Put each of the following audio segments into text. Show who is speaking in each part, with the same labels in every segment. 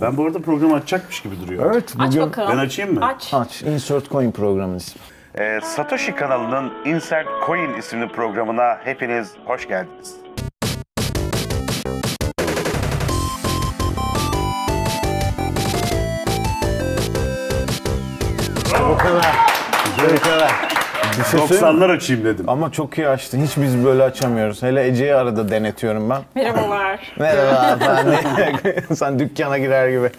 Speaker 1: Ben bu arada programı açacakmış gibi duruyor.
Speaker 2: Evet
Speaker 3: Aç
Speaker 2: bugün
Speaker 3: bakalım.
Speaker 1: Ben açayım mı?
Speaker 3: Aç.
Speaker 2: aç. Insert Coin programının ismi.
Speaker 1: Ee, Satoshi kanalının Insert Coin isimli programına hepiniz hoş geldiniz.
Speaker 2: O kadar. O kadar. Bir şey söyleyeyim mi?
Speaker 1: 90'lar açayım dedim.
Speaker 2: Ama çok iyi açtın. Hiç biz böyle açamıyoruz. Hele Ece'yi arada denetiyorum ben.
Speaker 3: Merhabalar.
Speaker 2: Merhaba efendim. Sen dükkana girer gibi.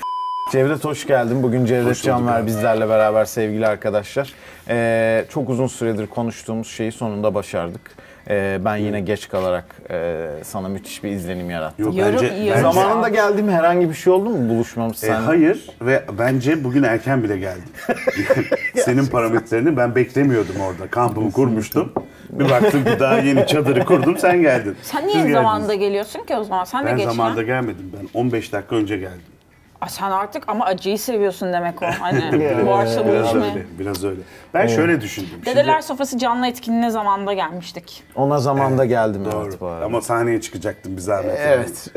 Speaker 2: Cevdet hoş geldin. Bugün Cevdet
Speaker 1: bulduk
Speaker 2: Canver
Speaker 1: abi.
Speaker 2: bizlerle beraber sevgili arkadaşlar. Ee, çok uzun süredir konuştuğumuz şeyi sonunda başardık. Ee, ben yine geç kalarak e, sana müthiş bir izlenim yarattım.
Speaker 1: Yok
Speaker 3: Yorum-
Speaker 1: bence,
Speaker 3: yorum-
Speaker 1: bence-
Speaker 3: Zaman-
Speaker 2: Zamanında geldiğim herhangi bir şey oldu mu buluşmamız
Speaker 1: E,
Speaker 2: sen?
Speaker 1: hayır ve bence bugün erken bile geldi. Senin parametrelerini ben beklemiyordum orada. Kampımı kurmuştum. Bir baktım ki daha yeni çadırı kurdum sen geldin.
Speaker 3: Sen
Speaker 1: Siz
Speaker 3: niye
Speaker 1: geldiniz.
Speaker 3: zamanda geliyorsun ki o zaman? Sen de
Speaker 1: Ben
Speaker 3: geç lan.
Speaker 1: zamanda gelmedim ben. 15 dakika önce geldim.
Speaker 3: Aa, sen artık ama acıyı seviyorsun demek o. Hani
Speaker 2: Biraz-
Speaker 3: bu arsa
Speaker 1: Biraz
Speaker 3: buluşma.
Speaker 1: öyle, biraz öyle. Ben şöyle düşündüm.
Speaker 3: Dedeler Sofası canlı etkinliğine zamanda gelmiştik.
Speaker 2: Ona zamanda geldim
Speaker 1: Şimdi-
Speaker 2: evet bu
Speaker 1: E, doğru.
Speaker 2: arada.
Speaker 1: Ama sahneye çıkacaktım bir zahmet.
Speaker 2: Evet.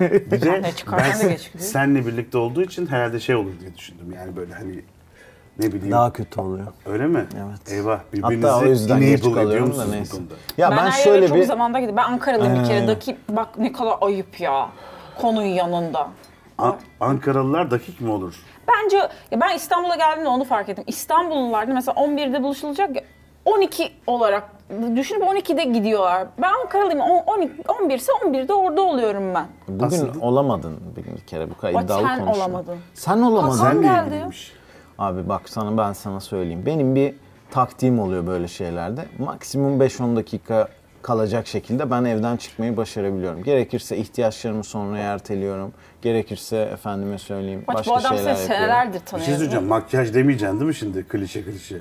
Speaker 1: Bir de
Speaker 3: Sahneye çıkarken de
Speaker 1: ben
Speaker 3: geç gidiyor.
Speaker 1: senle birlikte olduğu için herhalde şey olur diye düşündüm. Yani böyle hani ne bileyim.
Speaker 2: Daha kötü oluyor.
Speaker 1: Öyle mi?
Speaker 2: Evet.
Speaker 1: Eyvah birbirinizi
Speaker 2: Hatta o yüzden geç
Speaker 1: enable ediyor
Speaker 2: kalıyorum da
Speaker 1: musunuz bu
Speaker 2: neyse.
Speaker 1: konuda?
Speaker 2: Ya ben,
Speaker 3: Ben, her yere
Speaker 2: şöyle
Speaker 3: çok
Speaker 2: bir Ee.
Speaker 3: zamanda gidiyorum. Ben Ankara'lıyım bir kere.
Speaker 2: Aynen.
Speaker 3: Dakik, bak ne kadar ayıp ya. Konunun yanında.
Speaker 1: An- Ankaralılar dakik mi olur?
Speaker 3: Bence ya ben İstanbul'a geldiğimde onu fark ettim. İstanbullularda mesela 11'de buluşulacak ya 12 olarak düşünüp 12'de gidiyorlar. Ben Ankaralıyım. on- 12, 11 ise 11'de orada oluyorum ben.
Speaker 2: bugün
Speaker 1: Aslında-
Speaker 2: olamadın bir bir kere bu kadar
Speaker 3: Bak
Speaker 2: iddialı
Speaker 3: sen
Speaker 2: konuştun.
Speaker 3: olamadın.
Speaker 2: Sen olamadın.
Speaker 3: Hasan
Speaker 1: Sen niye
Speaker 3: geldim.
Speaker 1: ilgiliymiş?
Speaker 2: Abi bak sana ben sana söyleyeyim. Benim bir taktiğim oluyor böyle şeylerde. Maksimum 5-10 dakika kalacak şekilde ben evden çıkmayı başarabiliyorum. Gerekirse ihtiyaçlarımı sonraya erteliyorum. Gerekirse efendime söyleyeyim
Speaker 3: Bak
Speaker 2: başka
Speaker 3: bu adam
Speaker 2: şeyler
Speaker 3: seni
Speaker 2: yapıyorum.
Speaker 3: senelerdir
Speaker 1: Bir
Speaker 3: tanıyor.
Speaker 1: şey söyleyeceğim. Makyaj demeyeceksin değil mi şimdi? Klişe klişe.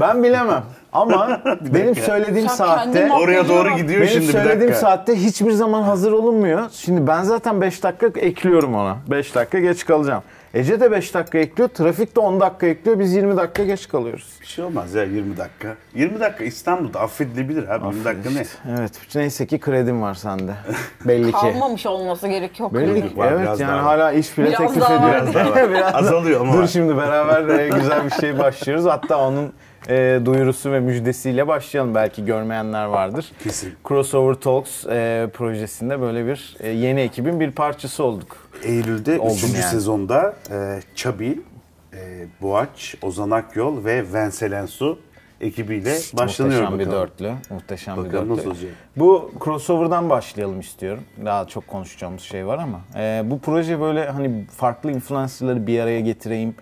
Speaker 2: Ben bilemem ama benim söylediğim
Speaker 3: Sen
Speaker 2: saatte
Speaker 3: kendin ol-
Speaker 1: Oraya doğru gidiyor
Speaker 2: benim
Speaker 1: şimdi bir dakika.
Speaker 2: söylediğim saatte hiçbir zaman hazır olunmuyor. Şimdi ben zaten 5 dakika ekliyorum ona. 5 dakika geç kalacağım. Ece de 5 dakika ekliyor, trafik de 10 dakika ekliyor. Biz 20 dakika geç kalıyoruz.
Speaker 1: Bir şey olmaz ya 20 dakika. 20 dakika İstanbul'da affedilebilir abi. 20 dakika ne?
Speaker 2: Evet. Neyse ki kredim var sende. Belli ki.
Speaker 3: Kalmamış olması gerekiyor.
Speaker 2: Belli ki.
Speaker 1: Var,
Speaker 2: Evet
Speaker 1: biraz
Speaker 2: yani
Speaker 1: daha var.
Speaker 2: hala iş bile
Speaker 3: Biraz
Speaker 2: teklif
Speaker 3: daha var.
Speaker 2: ediyoruz.
Speaker 1: Biraz daha var.
Speaker 2: Biraz daha-
Speaker 1: Azalıyor ama
Speaker 2: Dur
Speaker 1: var.
Speaker 2: şimdi beraber e, güzel bir şey başlıyoruz. Hatta onun e, duyurusu ve müjdesiyle başlayalım. Belki görmeyenler vardır.
Speaker 1: Kesin.
Speaker 2: Crossover Talks e, projesinde böyle bir e, yeni ekibin bir parçası olduk.
Speaker 1: Eylül'de
Speaker 2: Oldum
Speaker 1: 3.
Speaker 2: yani.
Speaker 1: sezonda e, Çabi, e, Boğaç, Ozan Akyol ve Venselensu ekibiyle başlanıyor
Speaker 2: Muhteşem bir
Speaker 1: bakalım.
Speaker 2: dörtlü. Muhteşem bir
Speaker 1: Bakalım
Speaker 2: dörtlü.
Speaker 1: nasıl olacak?
Speaker 2: Bu crossover'dan başlayalım istiyorum. Daha çok konuşacağımız şey var ama. Ee, bu proje böyle hani farklı influencerları bir araya getireyim,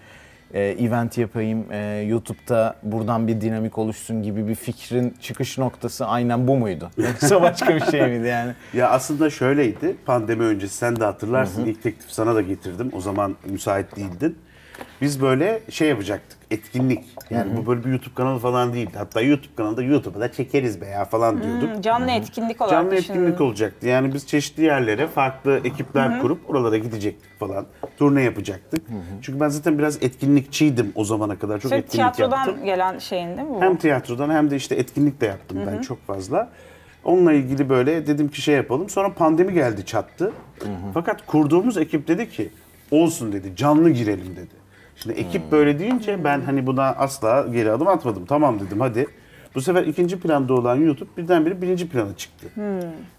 Speaker 2: e, event yapayım, e, YouTube'da buradan bir dinamik oluşsun gibi bir fikrin çıkış noktası aynen bu muydu? Yoksa başka bir şey miydi yani?
Speaker 1: Ya aslında şöyleydi. Pandemi öncesi sen de hatırlarsın. ilk teklif sana da getirdim. O zaman müsait değildin. Biz böyle şey yapacaktık. Etkinlik. Yani bu böyle bir YouTube kanalı falan değildi. Hatta YouTube kanalında YouTube'a da çekeriz be ya falan diyorduk.
Speaker 3: Canlı etkinlik olarak
Speaker 1: Canlı
Speaker 3: düşünün.
Speaker 1: etkinlik olacaktı. Yani biz çeşitli yerlere farklı ekipler kurup oralara gidecektik falan. Turne yapacaktık. Çünkü ben zaten biraz etkinlikçiydim o zamana kadar. Çok
Speaker 3: Senin
Speaker 1: etkinlik
Speaker 3: tiyatrodan
Speaker 1: yaptım.
Speaker 3: gelen şeyin değil mi bu?
Speaker 1: Hem tiyatrodan hem de işte etkinlik de yaptım ben çok fazla. Onunla ilgili böyle dedim ki şey yapalım. Sonra pandemi geldi çattı. Fakat kurduğumuz ekip dedi ki olsun dedi canlı girelim dedi. Şimdi ekip böyle deyince ben hani buna asla geri adım atmadım. Tamam dedim hadi. Bu sefer ikinci planda olan YouTube birdenbire birinci plana çıktı.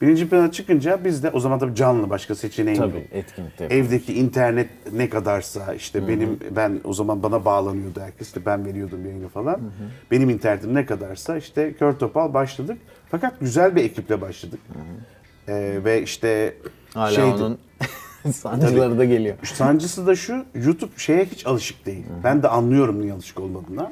Speaker 1: Birinci plana çıkınca biz de o zaman tabii canlı başka seçeneğim yok.
Speaker 2: Tabii, etkinlikte.
Speaker 1: Evdeki internet ne kadarsa işte benim ben o zaman bana bağlanıyordu herkes işte ben veriyordum yayını falan. Benim internetim ne kadarsa işte kör topal başladık. Fakat güzel bir ekiple başladık. Ee, ve işte
Speaker 2: Hala
Speaker 1: şeydi,
Speaker 2: onun sancıları da geliyor.
Speaker 1: sancısı da şu YouTube şeye hiç alışık değil. Ben de anlıyorum niye alışık olmadığına.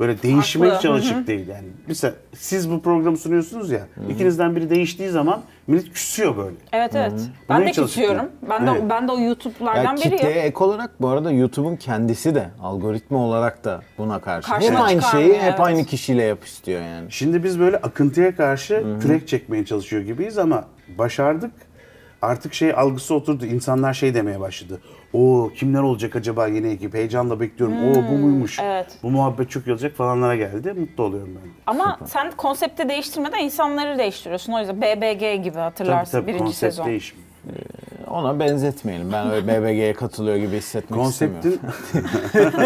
Speaker 1: Böyle değişime
Speaker 3: Haklı.
Speaker 1: hiç alışık değil yani. Mesela siz bu programı sunuyorsunuz ya ikinizden biri değiştiği zaman millet küsüyor böyle.
Speaker 3: Evet evet.
Speaker 1: Buna
Speaker 3: Ben de
Speaker 1: hiç alışık
Speaker 3: küsüyorum.
Speaker 1: değil.
Speaker 3: Ben de
Speaker 1: Evet.
Speaker 3: ben de o
Speaker 2: Ya
Speaker 3: YouTube'lardan biriyim.
Speaker 2: kitleye ek olarak bu arada YouTube'un kendisi de algoritma olarak da buna karşı.
Speaker 3: Karşına
Speaker 2: hep aynı
Speaker 3: çıkarmıyor,
Speaker 2: şeyi hep
Speaker 3: evet.
Speaker 2: aynı kişiyle yap istiyor yani.
Speaker 1: Şimdi biz böyle akıntıya karşı kürek çekmeye çalışıyor gibiyiz ama başardık. Artık şey algısı oturdu. İnsanlar şey demeye başladı. O kimler olacak acaba yeni ekip? Heyecanla bekliyorum. Oo bu muymuş?
Speaker 3: Hmm, evet.
Speaker 1: Bu muhabbet çok iyi olacak falanlara geldi. Mutlu oluyorum ben. de.
Speaker 3: Ama sen konsepti değiştirmeden insanları değiştiriyorsun. O yüzden BBG gibi
Speaker 1: Tabii
Speaker 3: hatırlarsın
Speaker 1: tabii
Speaker 3: birinci
Speaker 1: konsept
Speaker 3: sezon.
Speaker 1: değişimi.
Speaker 2: ona benzetmeyelim. Ben öyle BBG'ye katılıyor gibi hissetmek istemiyorum.
Speaker 1: Konseptin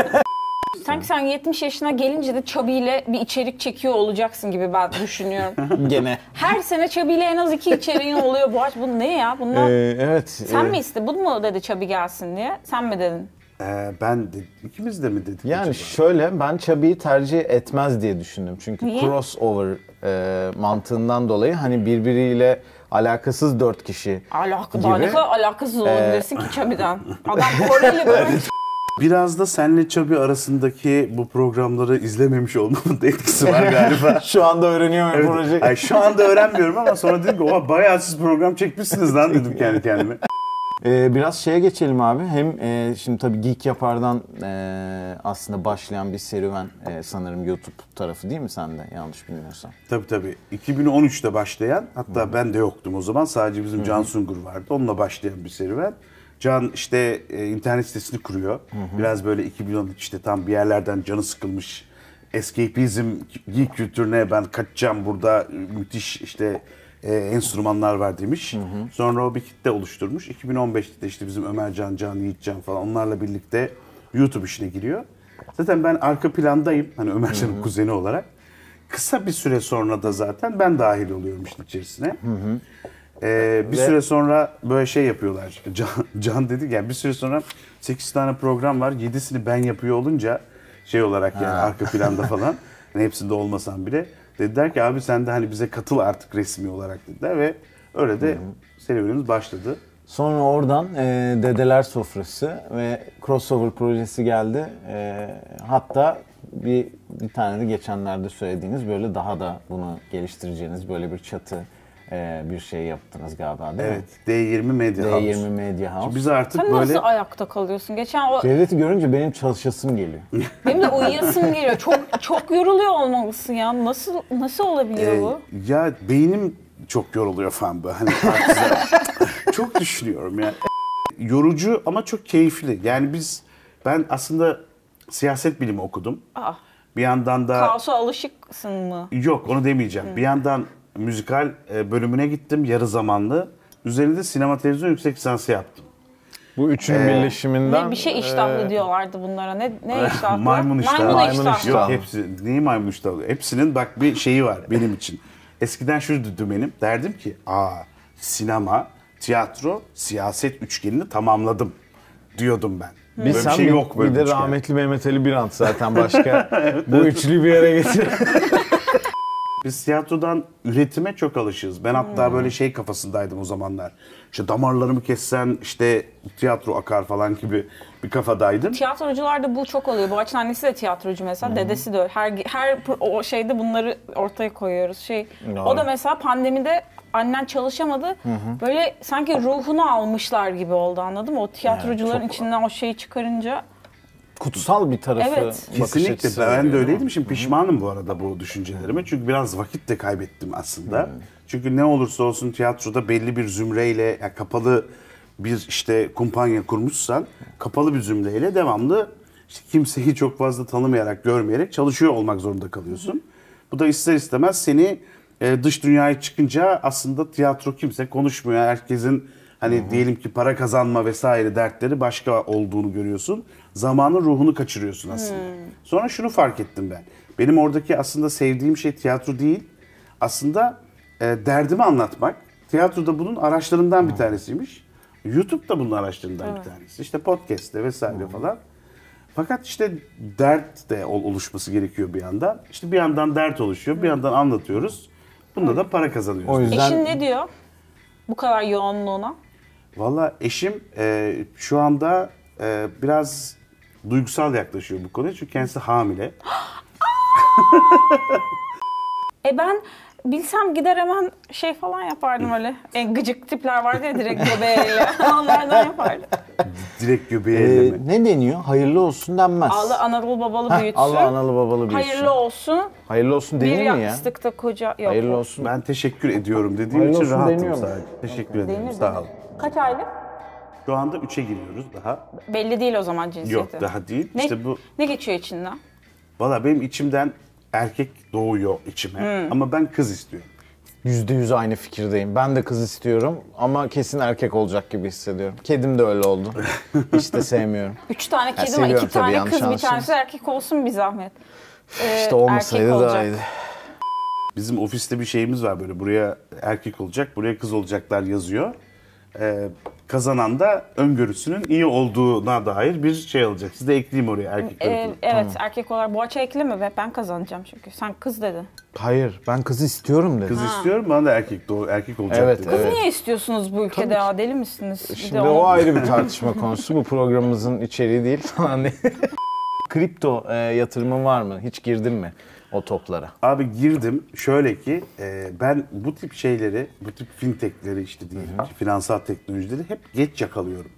Speaker 3: Sanki sen 70 yaşına gelince de Çabi'yle bir içerik çekiyor olacaksın gibi ben düşünüyorum.
Speaker 2: Gene.
Speaker 3: Her sene Çabi'yle en az iki içeriğin oluyor. Bu aç bu ne ya? Bundan
Speaker 2: Ee, evet.
Speaker 3: sen
Speaker 2: e,
Speaker 3: mi istedin? Bu mu dedi Çabi gelsin diye? Sen mi dedin?
Speaker 1: Ee, ben de, ikimiz de mi dedik?
Speaker 2: e, Yani
Speaker 1: acaba?
Speaker 2: şöyle ben Chubby'yi tercih etmez diye düşündüm. Çünkü
Speaker 3: Niye?
Speaker 2: crossover e, mantığından dolayı hani birbiriyle alakasız dört kişi.
Speaker 3: Alaka, daha ne
Speaker 2: Gibi.
Speaker 3: kadar
Speaker 1: Ee,
Speaker 3: alakasız olabilirsin ki Çabi'den? Adam Koreli böyle
Speaker 1: Biraz da senle Çabi arasındaki bu programları izlememiş olmamın da etkisi var galiba.
Speaker 2: Şu anda öğreniyorum
Speaker 1: Evet.
Speaker 2: proje.
Speaker 1: Ay, şu anda öğrenmiyorum ama sonra dedim ki oha bayağı siz program çekmişsiniz lan dedim kendi kendime.
Speaker 2: Ee, biraz şeye geçelim abi. Hem e, şimdi tabii Geek Yapar'dan e, aslında başlayan bir serüven e, sanırım YouTube tarafı değil mi sende? Yanlış bilmiyorsam.
Speaker 1: Tabii tabii. 2013'te başlayan, hatta ben de yoktum o zaman. Sadece bizim Can Sungur vardı. Onunla başlayan bir serüven. Can işte e, internet sitesini kuruyor. Biraz böyle 2013 işte tam bir yerlerden canı sıkılmış. Escapism, geek kültürüne ben kaçacağım burada müthiş işte e, enstrümanlar var demiş. Sonra o bir kitle oluşturmuş. 2015'te de işte bizim Ömer Can, Can Yiğit Can falan onlarla birlikte YouTube işine giriyor. Zaten ben arka plandayım. Hani Ömer Can'ın kuzeni olarak. Kısa bir süre sonra da zaten ben dahil oluyorum işin içerisine. Ee, bir
Speaker 2: Ve-
Speaker 1: süre sonra böyle şey yapıyorlar. Can, Can dedi ki, yani bir süre sonra 8 tane program var. 7'sini ben yapıyor olunca şey olarak yani arka planda falan. hani hepsinde olmasam bile. Dediler ki abi sen de hani bize katıl artık resmi olarak dediler ve öyle de serüvenimiz başladı.
Speaker 2: Sonra oradan e, Dedeler Sofrası ve Crossover projesi geldi. E, hatta bir, bir tane de geçenlerde söylediğiniz böyle daha da bunu geliştireceğiniz böyle bir çatı e, bir şey yaptınız galiba değil
Speaker 1: Evet. D20 Media
Speaker 2: mi?
Speaker 1: House.
Speaker 2: D20 Media House.
Speaker 1: Biz artık
Speaker 3: Sen
Speaker 1: böyle Şey-
Speaker 3: nasıl ayakta kalıyorsun? Geçen o
Speaker 2: Devleti görünce benim çalışasım geliyor.
Speaker 3: benim de uyuyasım geliyor. Çok çok yoruluyor olmalısın ya. Nasıl nasıl olabiliyor
Speaker 1: Ee,
Speaker 3: bu?
Speaker 1: ya beynim çok yoruluyor falan böyle. Hani farklı. çok düşünüyorum ya. Yorucu ama çok keyifli. Yani biz ben aslında siyaset bilimi okudum.
Speaker 3: Aa,
Speaker 1: Bir yandan da
Speaker 3: Ah, kaosa alışıksın mı?
Speaker 1: yok onu demeyeceğim. Bir yandan müzikal e, bölümüne gittim yarı zamanlı. Üzerinde sinema televizyon yüksek lisansı yaptım.
Speaker 2: Bu
Speaker 1: Ee,
Speaker 2: üçünün birleşiminden e,
Speaker 3: Ne bir şey iştahlı diyorlardı bunlara. Ne ne iştahlı?
Speaker 1: e, Maymun iştahı.
Speaker 3: Maymun
Speaker 2: Maymun
Speaker 3: iştahlı.
Speaker 2: iştahı.
Speaker 1: Yok hepsi neyi maymun iştahı oluyor? Hepsinin bak bir şeyi var benim için. Eskiden şuydu benim derdim ki aa sinema, tiyatro, siyaset üçgenini tamamladım diyordum ben.
Speaker 2: Bir
Speaker 1: böyle bir
Speaker 2: sen
Speaker 1: şey
Speaker 2: bir-
Speaker 1: yok böyle
Speaker 2: bir de
Speaker 1: üçgen.
Speaker 2: rahmetli Mehmet Ali Birant zaten başka. Bu üçlü bir araya getir.
Speaker 1: Biz tiyatrodan üretime çok alışığız. Ben hatta
Speaker 3: Hmm.
Speaker 1: böyle şey kafasındaydım o zamanlar. İşte damarlarımı kessen işte tiyatro akar falan gibi bir kafadaydım.
Speaker 3: Tiyatrocularda bu çok oluyor. Bu açın annesi de tiyatrocu mesela, dedesi de öyle. Her her pro- o şeyde bunları ortaya koyuyoruz. Şey, o
Speaker 2: Doğru.
Speaker 3: da mesela pandemide annen çalışamadı. Böyle sanki ruhunu almışlar gibi oldu anladın mı? O tiyatrocuların
Speaker 2: çok-
Speaker 3: içinden o şeyi çıkarınca
Speaker 2: Kutsal bir tarafı
Speaker 3: Evet.
Speaker 2: bakış
Speaker 1: Kesinlikle
Speaker 2: açısı
Speaker 1: ben de
Speaker 2: oluyor.
Speaker 1: öyleydim. Şimdi pişmanım bu arada bu düşüncelerime. Çünkü biraz vakit de kaybettim aslında. Çünkü ne olursa olsun tiyatroda belli bir zümreyle ya kapalı bir işte kumpanya kurmuşsan kapalı bir zümreyle devamlı işte kimseyi çok fazla tanımayarak, görmeyerek çalışıyor olmak zorunda kalıyorsun. Bu da ister istemez seni e, dış dünyaya çıkınca aslında tiyatro kimse konuşmuyor. Herkesin hani diyelim ki para kazanma vesaire dertleri başka olduğunu görüyorsun. Zamanın ruhunu kaçırıyorsun aslında. Sonra şunu fark ettim ben. Benim oradaki aslında sevdiğim şey tiyatro değil. Aslında e, derdimi anlatmak. Tiyatroda bunun araçlarından bir tanesiymiş. YouTube'da bunun araçlarından bir tanesi. İşte podcast'te vesaire falan. Fakat işte dert de ol- oluşması gerekiyor bir yandan. İşte bir yandan dert oluşuyor, bir yandan anlatıyoruz. Bunda da para kazanıyoruz.
Speaker 2: O yüzden
Speaker 3: eşin ne diyor? Bu kadar yoğunluğuna.
Speaker 1: Valla eşim e, şu anda e, biraz duygusal yaklaşıyor bu konuya çünkü kendisi hamile.
Speaker 3: E ben bilsem gider hemen şey falan yapardım öyle. E, gıcık tipler vardı ya direkt göbeğiyle. Onlardan yapardım.
Speaker 1: Direkt göbeğe
Speaker 2: Ee,
Speaker 1: elleme.
Speaker 2: ne deniyor? Hayırlı olsun denmez.
Speaker 3: Allah Anadolu babalı büyütsün.
Speaker 2: Allah analı babalı büyüsün.
Speaker 3: Hayırlı olsun.
Speaker 2: Hayırlı olsun
Speaker 3: Bir
Speaker 2: denir mi ya?
Speaker 3: yastıkta koca yok.
Speaker 2: Hayırlı olsun.
Speaker 1: Ben teşekkür ediyorum dediğim
Speaker 2: Hayırlı
Speaker 1: için
Speaker 2: olsun
Speaker 1: rahatım
Speaker 2: deniyor mu?
Speaker 1: sadece. Teşekkür ederim.
Speaker 3: Denir,
Speaker 1: Sağ
Speaker 3: denir.
Speaker 1: ol.
Speaker 3: Kaç aylık?
Speaker 1: Şu anda 3'e giriyoruz daha.
Speaker 3: Belli değil o zaman cinsiyeti.
Speaker 1: Yok daha değil.
Speaker 3: Ne,
Speaker 1: İşte bu
Speaker 3: ne geçiyor içinden?
Speaker 1: valla benim içimden erkek doğuyor içime. Ama ben kız istiyorum.
Speaker 2: %100 aynı fikirdeyim. Ben de kız istiyorum ama kesin erkek olacak gibi hissediyorum. Kedim de öyle oldu. Hiç de sevmiyorum.
Speaker 3: Üç tane kedi var,
Speaker 2: seviyorum
Speaker 3: iki
Speaker 2: tabii,
Speaker 3: tane
Speaker 2: yanlış
Speaker 3: kız, bir
Speaker 2: anlaşılmasın.
Speaker 3: tanesi erkek olsun bir zahmet. Ee,
Speaker 2: İşte olmasaydı
Speaker 3: erkek
Speaker 2: daha
Speaker 3: olacak.
Speaker 2: iyiydi.
Speaker 1: Bizim ofiste bir şeyimiz var böyle buraya erkek olacak, buraya kız olacaklar yazıyor. Ee, kazanan da öngörüsünün iyi olduğuna dair bir şey alacak. Siz de ekleyeyim oraya erkek
Speaker 3: Ee,
Speaker 1: tarafını.
Speaker 3: evet erkek olarak boğaça ekleme ve ben kazanacağım çünkü. Sen kız dedin.
Speaker 2: Hayır ben kızı istiyorum dedi.
Speaker 1: Kız istiyorum bana da erkek doğ- erkek olacak.
Speaker 2: Evet,
Speaker 1: dedi.
Speaker 2: evet.
Speaker 3: Kız niye istiyorsunuz bu ülkede ya deli misiniz? Bir de
Speaker 2: Şimdi
Speaker 3: onu-
Speaker 2: o ayrı bir tartışma konusu. Bu programımızın içeriği değil falan diye. Kripto e, yatırımın var mı? Hiç girdin mi o toplara?
Speaker 1: Abi girdim şöyle ki e, ben bu tip şeyleri, bu tip fintechleri işte diyeyim, finansal teknolojileri hep geç yakalıyorum.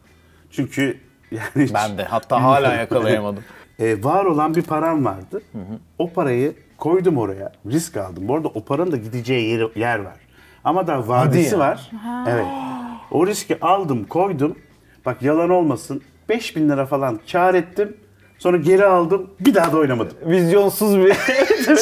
Speaker 1: Çünkü yani hiç-
Speaker 2: Ben de. Hatta hala yakalayamadım.
Speaker 1: E, var olan bir param vardı. O parayı koydum oraya. Risk aldım. Bu arada o paranın da gideceği yeri, yer var. Ama daha vadesi
Speaker 2: ya.
Speaker 1: var. Evet. O riski aldım, koydum. Bak yalan olmasın. 5000 lira falan kar ettim. Sonra geri aldım. Bir daha da oynamadım.
Speaker 2: Vizyonsuz bir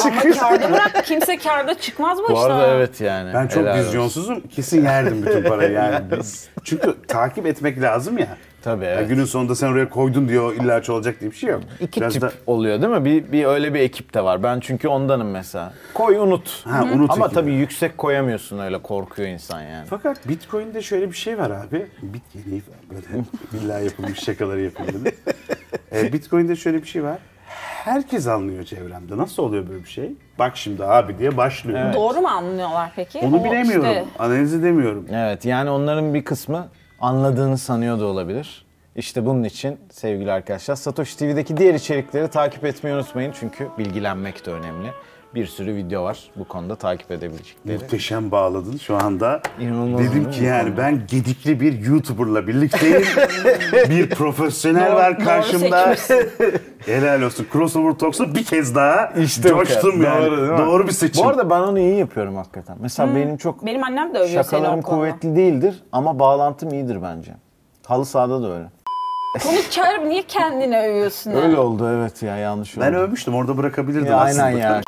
Speaker 3: Ama kârda bırak kimse kârda çıkmaz bu,
Speaker 2: Bu
Speaker 3: işten.
Speaker 2: arada evet yani.
Speaker 1: Ben çok
Speaker 2: Helal olsun.
Speaker 1: vizyonsuzum. Kesin yerdim bütün parayı yani. Biz- Çünkü takip etmek lazım ya.
Speaker 2: Tabii,
Speaker 1: Ya
Speaker 2: evet.
Speaker 1: günün sonunda sen oraya koydun diyor illaç olacak diye bir şey yok.
Speaker 2: İki
Speaker 1: Biraz
Speaker 2: tip
Speaker 1: da-
Speaker 2: oluyor değil mi? Bir, bir öyle bir ekip de var. Ben çünkü ondanım mesela. Koy unut.
Speaker 1: Ha, unut
Speaker 2: Ama
Speaker 1: ekibi.
Speaker 2: tabii yüksek koyamıyorsun öyle korkuyor insan yani.
Speaker 1: Fakat Bitcoin'de şöyle bir şey var abi. Bit yeni böyle billahi yapılmış şakaları yapıyorum. E, Bitcoin'de şöyle bir şey var. Herkes anlıyor çevremde. Nasıl oluyor böyle bir şey? Bak şimdi abi diye başlıyor.
Speaker 3: Doğru mu anlıyorlar peki?
Speaker 1: Onu
Speaker 3: O
Speaker 1: bilemiyorum.
Speaker 3: işte-
Speaker 1: Analiz edemiyorum.
Speaker 2: Evet yani onların bir kısmı anladığını sanıyor da olabilir. İşte bunun için sevgili arkadaşlar Satoshi TV'deki diğer içerikleri takip etmeyi unutmayın. Çünkü bilgilenmek de önemli. Bir sürü video var bu konuda takip edebilecekleri.
Speaker 1: Muhteşem bağladın şu anda.
Speaker 2: İnanılmaz
Speaker 1: Dedim
Speaker 2: değil
Speaker 1: ki
Speaker 2: mi?
Speaker 1: yani ben gedikli bir YouTuber'la birlikteyim. bir profesyonel
Speaker 3: Doğru-
Speaker 1: var
Speaker 3: doğru
Speaker 1: karşımda. Helal olsun. Crossover Talks'a bir kez daha
Speaker 2: bu kadar.
Speaker 1: coştum yani.
Speaker 2: değil mi?
Speaker 1: Doğru bir seçim.
Speaker 2: Bu arada ben onu iyi yapıyorum hakikaten. Mesela benim çok
Speaker 3: Benim annem de övüyor seni
Speaker 2: şakalarım
Speaker 3: o konuda.
Speaker 2: kuvvetli değildir ama bağlantım iyidir bence. Halı sahada da öyle.
Speaker 3: Konu kâr niye kendini övüyorsun? ya?
Speaker 2: Öyle oldu evet ya yanlış oldu.
Speaker 1: ben övmüştüm orada bırakabilirdim
Speaker 2: Ya
Speaker 1: aslında.
Speaker 2: aynen ya.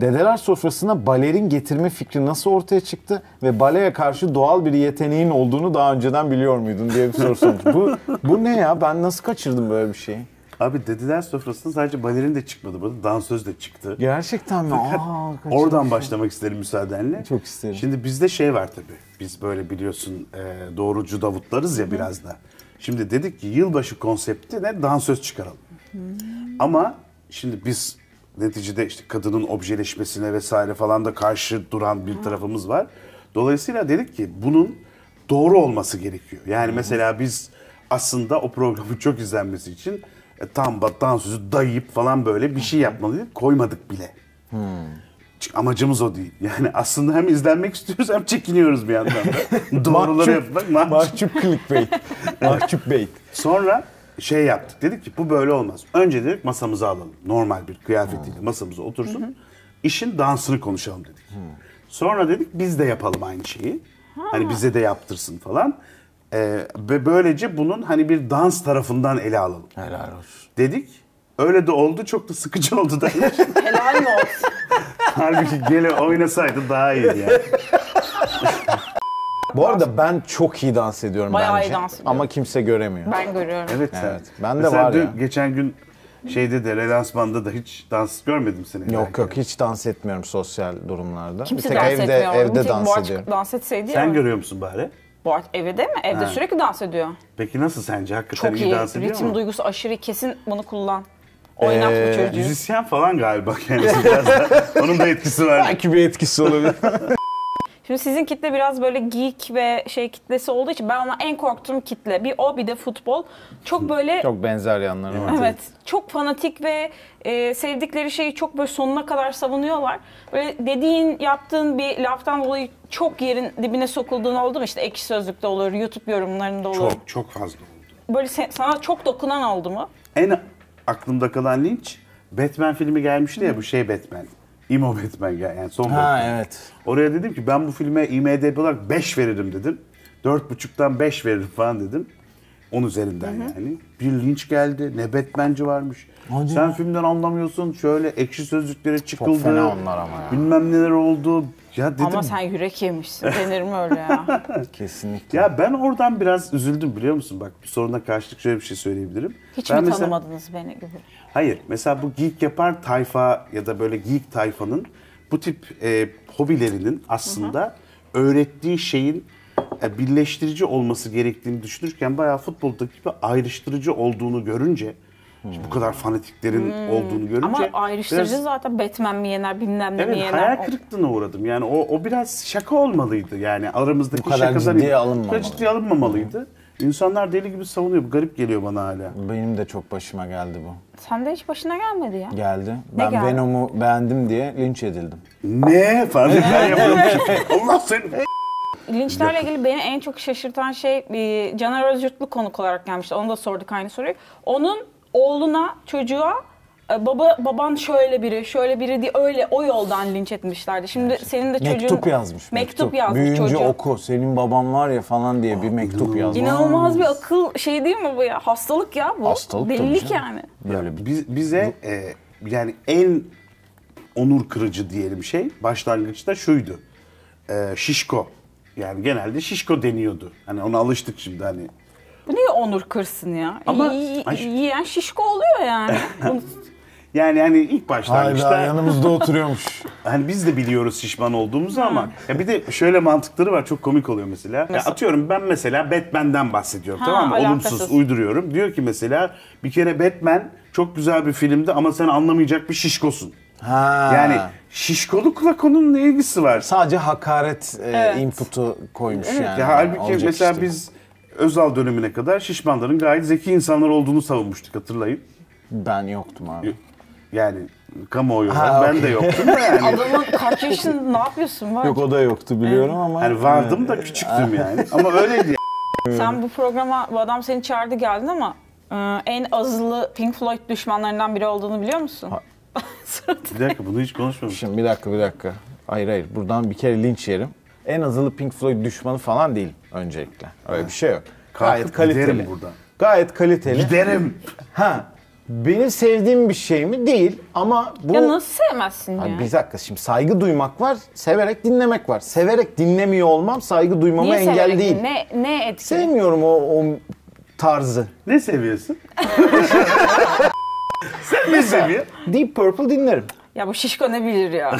Speaker 2: Dedeler sofrasına balerin getirme fikri nasıl ortaya çıktı ve baleye karşı doğal bir yeteneğin olduğunu daha önceden biliyor muydun diye bir soru sormuş. bu, bu ne ya ben nasıl kaçırdım böyle bir şeyi?
Speaker 1: Abi dediler sofrasında sadece balerin de çıkmadı burada. Dansöz de çıktı.
Speaker 2: Gerçekten mi? Aa, kaçırdım.
Speaker 1: Oradan başlamak isterim müsaadenle.
Speaker 2: Çok isterim.
Speaker 1: Şimdi bizde şey var tabii. Biz böyle biliyorsun e, doğrucu davutlarız ya biraz da. Şimdi dedik ki yılbaşı konsepti ne dansöz çıkaralım. Ama şimdi biz neticede işte kadının objeleşmesine vesaire falan da karşı duran bir tarafımız var. Dolayısıyla dedik ki bunun doğru olması gerekiyor. Yani mesela biz aslında o programın çok izlenmesi için e, tam battan sözü dayayıp falan böyle bir şey yapmalıydık. Koymadık bile. Çünkü amacımız o değil. Yani aslında hem izlenmek istiyoruz hem çekiniyoruz bir yandan da. Doğruları yapmak. mahcup.
Speaker 2: Mahcup clickbait. Mahcup bait.
Speaker 1: Sonra şey yaptık. Dedik ki bu böyle olmaz. Önce dedik masamıza alalım. Normal bir
Speaker 2: Hmm.
Speaker 1: kıyafetiyle masamıza otursun. İşin dansını konuşalım dedik.
Speaker 2: Hmm.
Speaker 1: Sonra dedik biz de yapalım aynı şeyi. Hani bize de yaptırsın falan. Ee, ve böylece bunun hani bir dans tarafından ele alalım.
Speaker 2: Helal olsun.
Speaker 1: Dedik. Öyle de oldu. Çok da sıkıcı oldu da.
Speaker 3: Helal mi olsun?
Speaker 1: Halbuki gele oynasaydı daha iyiydi yani.
Speaker 2: Bu arada ben çok iyi dans ediyorum
Speaker 3: Bayağı iyi
Speaker 2: bence.
Speaker 3: dans ediyorum.
Speaker 2: Ama kimse göremiyor.
Speaker 3: Ben görüyorum.
Speaker 1: Evet. sen-
Speaker 2: Evet, ben de
Speaker 1: Mesela
Speaker 2: var ya.
Speaker 1: geçen gün şeyde de relansmanda da hiç dans görmedim seni.
Speaker 2: Yok
Speaker 1: herhalde.
Speaker 2: yok hiç dans etmiyorum sosyal durumlarda.
Speaker 3: Kimse
Speaker 2: bir tek
Speaker 3: dans
Speaker 2: evde,
Speaker 3: etmiyor. Bir
Speaker 2: evde
Speaker 3: tek
Speaker 2: dans
Speaker 3: Boğaç
Speaker 2: ediyorum.
Speaker 3: dans etseydi
Speaker 1: Sen
Speaker 3: ya.
Speaker 1: görüyor musun bari?
Speaker 3: Boğaç evde mi? Evde sürekli dans ediyor.
Speaker 1: Peki nasıl sence? Hakikaten
Speaker 3: Çok
Speaker 1: iyi,
Speaker 3: iyi.
Speaker 1: dans ediyor
Speaker 3: Ritim
Speaker 1: mu?
Speaker 3: duygusu aşırı iyi. kesin bunu kullan. Oynat
Speaker 2: Ee,
Speaker 3: bu çocuğu.
Speaker 1: Müzisyen falan galiba kendisi biraz da. Onun da etkisi var.
Speaker 2: Belki bir etkisi olabilir.
Speaker 3: Şimdi sizin kitle biraz böyle geek ve şey kitlesi olduğu için ben ona en korktuğum kitle. Bir o bir de futbol. Çok böyle
Speaker 2: Çok benzer yanları var.
Speaker 3: Evet, çok fanatik ve e, sevdikleri şeyi çok böyle sonuna kadar savunuyorlar. Böyle dediğin, yaptığın bir laftan dolayı çok yerin dibine sokulduğun oldu mu? İşte ekşi sözlükte olur, YouTube yorumlarında olur.
Speaker 1: Çok çok fazla oldu.
Speaker 3: Böyle se- sana çok dokunan oldu mu?
Speaker 1: En aklımda kalan linç Batman filmi gelmişti ya bu şey Batman. İmo Batman gel- yani son
Speaker 2: Ha
Speaker 1: Batman.
Speaker 2: evet.
Speaker 1: Oraya dedim ki ben bu filme IMDB olarak 5 veririm dedim. 4.5'tan 5 veririm falan dedim. 10 üzerinden yani. Bir linç geldi. Ne Batman'ci varmış.
Speaker 2: Hadi
Speaker 1: Sen
Speaker 2: ya.
Speaker 1: filmden anlamıyorsun. Şöyle ekşi sözlüklere çıkıldı.
Speaker 2: fena onlar ama ya.
Speaker 1: Bilmem neler oldu. Ya dedim
Speaker 3: Ama sen yürek yemişsin. Denir mi öyle ya?
Speaker 2: Kesinlikle.
Speaker 1: ya ben oradan biraz üzüldüm biliyor musun? Bak bir soruna karşılık şöyle bir şey söyleyebilirim.
Speaker 3: Hiç
Speaker 1: ben
Speaker 3: mi
Speaker 1: mesela-
Speaker 3: tanımadınız beni gibi?
Speaker 1: Hayır. Mesela bu geek yapar tayfa ya da böyle geek tayfanın bu tip e, hobilerinin aslında öğrettiği şeyin e, birleştirici olması gerektiğini düşünürken bayağı futboldaki gibi ayrıştırıcı olduğunu görünce bu kadar fanatiklerin olduğunu görünce
Speaker 3: Hmm. Ama ayrıştırıcı
Speaker 1: biraz-
Speaker 3: zaten Batman mi yener bilmem ne mi
Speaker 1: Evet
Speaker 3: yener.
Speaker 1: hayal
Speaker 3: O-
Speaker 1: kırıklığına uğradım. Yani o, o biraz şaka olmalıydı. Yani aramızdaki
Speaker 2: Bu kadar
Speaker 1: şakalar
Speaker 2: ciddiye
Speaker 1: Bu
Speaker 2: alınmamalı.
Speaker 1: kadar ciddiye alınmamalıydı. İnsanlar deli gibi savunuyor. Bu garip geliyor bana hala.
Speaker 2: Benim de çok başıma geldi bu.
Speaker 3: Sen de hiç başına gelmedi ya.
Speaker 2: Geldi. Ben
Speaker 3: geldi?
Speaker 2: Venom'u beğendim diye linç edildim.
Speaker 1: Ne falan ben yapıyorum. Allah seni
Speaker 3: Linçlerle ilgili beni en çok şaşırtan şey e, Caner Özgürtlü konuk olarak gelmişti. Onu da sorduk aynı soruyu. Onun oğluna, çocuğa e, baba baban şöyle biri, şöyle biri diye öyle o yoldan linç etmişlerdi. Şimdi senin de çocuğun
Speaker 2: Mektup yazmış.
Speaker 3: Mektup, yazmış
Speaker 2: Büyüyünce
Speaker 3: çocuğa.
Speaker 2: oku. Senin babam var ya falan diye bir mektup yazmış.
Speaker 3: İnanılmaz bir akıl şey değil mi bu ya? Hastalık ya bu.
Speaker 2: Hastalık tabii
Speaker 3: Delilik
Speaker 2: canım.
Speaker 3: yani.
Speaker 2: Böyle bir
Speaker 1: Biz, bize e, yani en onur kırıcı diyelim şey başlangıçta şuydu. E, şişko. Yani genelde şişko deniyordu. Hani ona alıştık şimdi hani.
Speaker 3: Bu niye onur kırsın ya?
Speaker 1: Ama-
Speaker 3: Y-
Speaker 1: Ay-
Speaker 3: yiyen şişko oluyor yani. Bunu-
Speaker 1: Yani hani ilk
Speaker 2: Hayda
Speaker 1: başlangıçta
Speaker 2: yanımızda oturuyormuş.
Speaker 1: hani biz de biliyoruz şişman olduğumuzu ama ya bir de şöyle mantıkları var çok komik oluyor mesela. Ya
Speaker 3: Nasıl?
Speaker 1: atıyorum ben mesela Batman'den bahsediyorum
Speaker 3: Ha,
Speaker 1: tamam mı?
Speaker 3: alakasız.
Speaker 1: Olumsuz uyduruyorum. Diyor ki mesela bir kere Batman çok güzel bir filmdi ama sen anlamayacak bir şişkosun.
Speaker 2: Ha.
Speaker 1: Yani şişkolukla konunun ne ilgisi var?
Speaker 2: sadece hakaret e,
Speaker 3: Evet.
Speaker 2: input'u koymuş
Speaker 1: Evet,
Speaker 2: yani.
Speaker 1: ya halbuki
Speaker 2: Olacak
Speaker 1: mesela
Speaker 2: iş değil.
Speaker 1: biz Özal dönemine kadar şişmanların gayet zeki insanlar olduğunu savunmuştuk hatırlayın.
Speaker 2: ben yoktum abi.
Speaker 1: Yani kamuoyu olarak
Speaker 2: Ha,
Speaker 1: ben de yoktum da yani.
Speaker 3: Adamın kaç yaşında ne yapıyorsun? Var.
Speaker 2: Yok o da yoktu biliyorum ama.
Speaker 1: Yani vardım da küçüktüm yani. Ama öyleydi yani.
Speaker 3: Sen bu programa bu adam seni çağırdı geldin ama e, en azılı Pink Floyd düşmanlarından biri olduğunu biliyor musun?
Speaker 2: Ha.
Speaker 1: Bir dakika bunu hiç konuşmamışım.
Speaker 2: Şimdi bir dakika bir dakika. Hayır hayır buradan bir kere linç yerim. En azılı Pink Floyd düşmanı falan değil öncelikle. Öyle bir şey yok. Gayet
Speaker 1: Kalkıp
Speaker 2: kaliteli.
Speaker 1: giderim buradan.
Speaker 2: Gayet kaliteli.
Speaker 1: Giderim.
Speaker 2: Ha. Benim sevdiğim bir şey mi? Değil ama bu...
Speaker 3: Ya nasıl sevmezsin ya?
Speaker 2: Abi bir dakika şimdi saygı duymak var, severek dinlemek var. Severek dinlemiyor olmam saygı duymama
Speaker 3: Niye
Speaker 2: engel
Speaker 3: severek
Speaker 2: değil.
Speaker 3: dinle- Ne, ne etkili?
Speaker 2: Sevmiyorum o, o tarzı.
Speaker 1: Ne seviyorsun? Sen ne seviyorsun?
Speaker 2: Deep Purple dinlerim.
Speaker 3: Ya bu şişko ne bilir ya?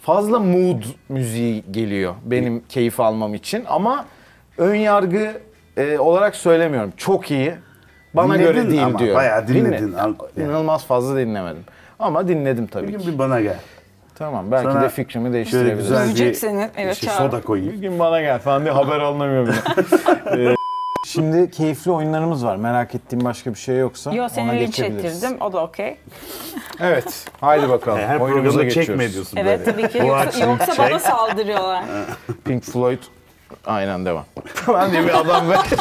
Speaker 2: Fazla mood müziği geliyor benim keyif almam için ama ön yargı e, olarak söylemiyorum. Çok iyi. Bana
Speaker 1: Dinledin
Speaker 2: göre değil
Speaker 1: ama,
Speaker 2: diyor.
Speaker 1: bayağı dinledin. Al- yani.
Speaker 2: İnanılmaz fazla dinlemedim. Ama dinledim tabii
Speaker 1: Bir
Speaker 2: ki.
Speaker 1: gün bir bana gel.
Speaker 2: Tamam belki
Speaker 1: Sana
Speaker 2: de fikrimi
Speaker 1: Şöyle
Speaker 2: değiştirebilirim.
Speaker 1: güzel bir
Speaker 3: Üzecek seni, evet,
Speaker 1: şey,
Speaker 3: çağır.
Speaker 1: soda
Speaker 2: Bir
Speaker 1: koyayım.
Speaker 2: gün bana gel falan diye haber alınamıyor bile. Ee, Şimdi keyifli oyunlarımız var. Merak ettiğim başka bir şey yoksa
Speaker 3: Yo
Speaker 2: ona
Speaker 3: seni linç
Speaker 2: geçebiliriz.
Speaker 3: ettirdim. O da okey.
Speaker 2: Evet. Haydi bakalım.
Speaker 1: Ee, Her
Speaker 2: Oyunumuza
Speaker 1: programda
Speaker 2: geçiyoruz.
Speaker 1: çekme diyorsun
Speaker 3: Evet
Speaker 1: böyle.
Speaker 3: tabii ki.
Speaker 1: Bu
Speaker 3: Yoksa,
Speaker 1: akşam
Speaker 3: yoksa
Speaker 1: çek.
Speaker 2: şey.
Speaker 3: bana saldırıyorlar.
Speaker 2: Pink Floyd. Aynen devam. Falan diye bir adam var.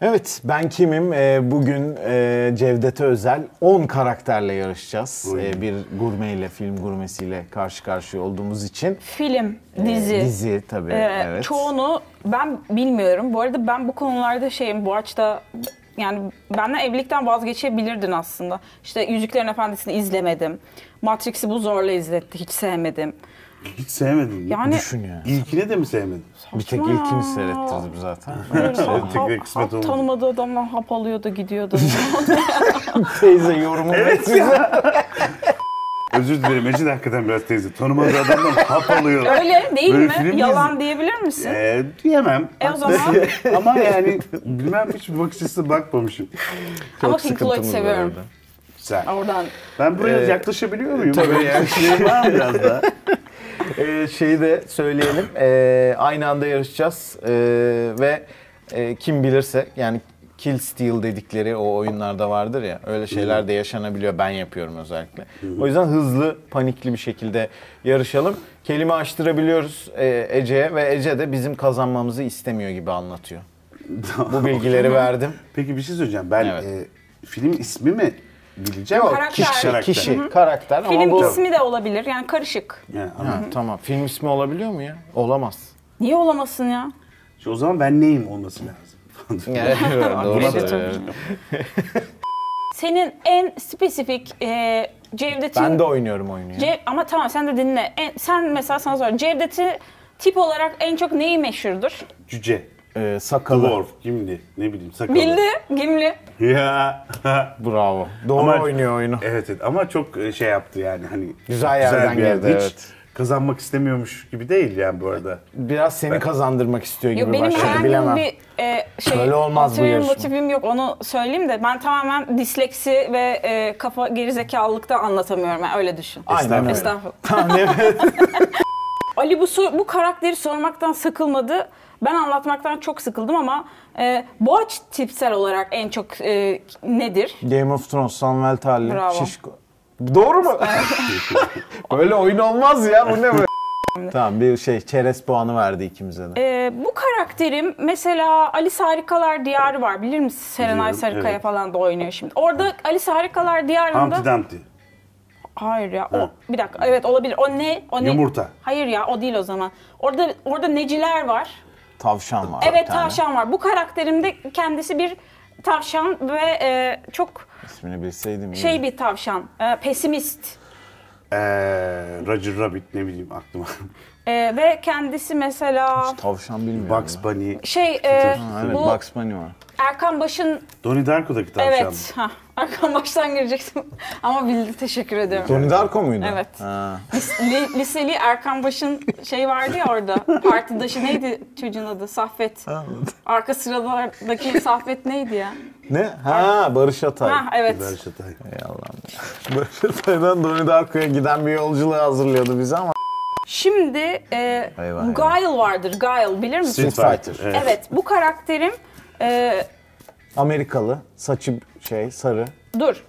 Speaker 2: Evet, ben kimim? Ee, bugün e, Cevdet'e özel 10 karakterle yarışacağız.
Speaker 1: Buyurun.
Speaker 2: Ee, bir gurmeyle, film gurmesiyle karşı karşıya olduğumuz için.
Speaker 3: Film,
Speaker 2: Ee,
Speaker 3: dizi.
Speaker 2: Dizi tabii,
Speaker 3: Ee,
Speaker 2: evet.
Speaker 3: Çoğunu ben bilmiyorum. Bu arada ben bu konularda şeyim, bu açta yani benden evlilikten vazgeçebilirdin aslında. İşte Yüzüklerin Efendisi'ni izlemedim. Matrix'i bu zorla izletti. Hiç sevmedim.
Speaker 1: Hiç sevmedin mi?
Speaker 3: Yani
Speaker 2: Düşün ya.
Speaker 1: İlkine de mi sevmedin?
Speaker 2: Bir tek
Speaker 3: Saçma
Speaker 2: ilkini
Speaker 3: ya.
Speaker 2: seyrettirdim Şey, zaten.
Speaker 3: hap,
Speaker 1: tek bir
Speaker 3: hap,
Speaker 1: kısmet
Speaker 3: hap
Speaker 1: olmadı.
Speaker 3: tanımadığı adamdan hap alıyordu gidiyordu.
Speaker 2: Teyze yorumu evet.
Speaker 1: Özür dilerim Ecin hakikaten biraz teyze. Tanımadığı adamdan hap alıyor.
Speaker 3: Öyle değil
Speaker 1: Böyle
Speaker 3: mi?
Speaker 1: film mi
Speaker 3: Yalan
Speaker 1: izle-
Speaker 3: diyebilir misin?
Speaker 1: Ee, diyemem.
Speaker 3: E o zaman
Speaker 1: Ama yani bilmem hiç bir bakış açısı bakmamışım.
Speaker 3: ama Pink Floyd seviyorum.
Speaker 1: Güzel.
Speaker 3: Oradan
Speaker 1: Ben buraya
Speaker 2: Ee,
Speaker 1: yaklaşabiliyor muyum?
Speaker 2: tabii yani.
Speaker 1: Şey var mı biraz da.
Speaker 2: Ee, şeyi de söyleyelim. Ee, aynı anda yarışacağız Ee, ve e, kim bilirse yani Kill Steal dedikleri o oyunlarda vardır ya öyle şeyler de yaşanabiliyor ben yapıyorum özellikle. O yüzden hızlı panikli bir şekilde yarışalım. Kelime açtırabiliyoruz e, Ece'ye ve Ece de bizim kazanmamızı istemiyor gibi anlatıyor. Bu bilgileri verdim.
Speaker 1: Peki bir şey söyleyeceğim. Ben
Speaker 2: Evet.
Speaker 1: e, film ismi mi bileceğim?
Speaker 2: Yok,
Speaker 3: Karakter.
Speaker 2: kişi,
Speaker 1: Karakter.
Speaker 2: kişi, karakter ama
Speaker 3: film
Speaker 2: bu...
Speaker 3: ismi de olabilir. Yani karışık.
Speaker 1: Yani,
Speaker 2: Ha,
Speaker 1: anladım.
Speaker 2: tamam. Film ismi olabiliyor mu ya? Olamaz.
Speaker 3: Niye olamasın ya?
Speaker 1: İşte o zaman ben neyim olması lazım.
Speaker 2: Evet,
Speaker 1: Buna-
Speaker 2: söylüyorum.
Speaker 3: senin en spesifik e, Cevdet'in...
Speaker 2: Ben de oynuyorum oyunu. ya.
Speaker 3: Ce- ama tamam sen de dinle. En- sen mesela sana sor. Cevdet'i tip olarak en çok neyi meşhurdur?
Speaker 1: Cüce,
Speaker 2: Ee, sakalı.
Speaker 1: dwarf, gimli, ne bileyim sakalı.
Speaker 3: Bildi, Gimli.
Speaker 1: Ya.
Speaker 2: Bravo. Doğru
Speaker 1: Ama-
Speaker 2: oynuyor oyunu.
Speaker 1: evet evet ama çok e, şey yaptı yani hani.
Speaker 2: Güzel yerden
Speaker 1: bir
Speaker 2: geldi,
Speaker 1: yerde. Hiç
Speaker 2: evet.
Speaker 1: kazanmak istemiyormuş gibi değil yani bu arada.
Speaker 2: Biraz seni kazandırmak istiyor gibi
Speaker 3: Yok, benim
Speaker 2: başladı.
Speaker 3: herhangi
Speaker 2: Bilemem.
Speaker 3: bir e, şey,
Speaker 2: Öyle olmaz bu
Speaker 3: otomobil
Speaker 2: yarışma.
Speaker 3: motifim yok onu söyleyeyim de ben tamamen disleksi ve e, kafa gerizekalılıkta anlatamıyorum. Yani öyle düşün.
Speaker 2: Aynen öyle.
Speaker 1: Estağfurullah.
Speaker 3: Estağfurullah.
Speaker 2: Tamam, evet.
Speaker 3: Ali bu sor- bu karakteri sormaktan sıkılmadı. Ben anlatmaktan çok sıkıldım ama e, Boğaç tipsel olarak en çok e, nedir?
Speaker 2: Game of Thrones, Samuel Tarly,
Speaker 3: Bravo.
Speaker 2: Şişko. Doğru mu? Böyle oyun olmaz ya. Bu ne böyle? tamam bir şey çerez puanı verdi ikimize de.
Speaker 3: E, bu karakterim mesela Alice Harikalar Diyarı var. Bilir misin? Serenay
Speaker 1: Biliyorum,
Speaker 3: Sarıkaya
Speaker 1: evet.
Speaker 3: falan da oynuyor şimdi. Orada Alice Harikalar Diyarı'nda...
Speaker 1: Humpty Dumpty.
Speaker 3: Hayır ya. O
Speaker 1: Ha.
Speaker 3: bir dakika. Evet olabilir. O ne? O ne?
Speaker 1: Yumurta.
Speaker 3: Hayır ya o değil o zaman. Orada orada neciler var.
Speaker 2: Tavşan var. bir
Speaker 3: evet
Speaker 2: tane.
Speaker 3: tavşan var. Bu karakterimde kendisi bir tavşan ve e, çok
Speaker 2: İsmini bilseydim. iyi.
Speaker 3: şey bir tavşan. e, pesimist.
Speaker 1: Ee, Roger Rabbit ne bileyim aklıma.
Speaker 3: E, ve kendisi mesela
Speaker 2: Tavşan bilmiyorum.
Speaker 1: Bugs Bunny.
Speaker 3: şey e,
Speaker 2: Ha, evet
Speaker 3: bu
Speaker 2: Bugs Bunny var.
Speaker 3: Erkan Baş'ın
Speaker 1: Donnie Darko'daki tavşan.
Speaker 3: evet ha Erkan Baş'tan gireceksin ama bildi teşekkür ediyorum.
Speaker 2: Tony Darko muydu?
Speaker 3: Evet.
Speaker 2: Ha.
Speaker 3: Li- liseli Erkan Baş'ın şey vardı ya orada. Partidaşı neydi çocuğun adı? Saffet. Arka sıralardaki Saffet neydi ya?
Speaker 2: Ne? Ha Barış Atay.
Speaker 3: Ha evet.
Speaker 1: Barış Atay.
Speaker 2: Ey Allah'ım. Barış Atay'dan Donnie Darko'ya giden bir yolculuğa hazırlıyordu bizi ama.
Speaker 3: Şimdi e,
Speaker 2: Eyvah,
Speaker 3: Guile vardır. Guile bilir misin?
Speaker 2: Street Fighter.
Speaker 1: Evet.
Speaker 3: Evet bu karakterim e,
Speaker 2: Amerikalı, saçı şey sarı.
Speaker 3: dur.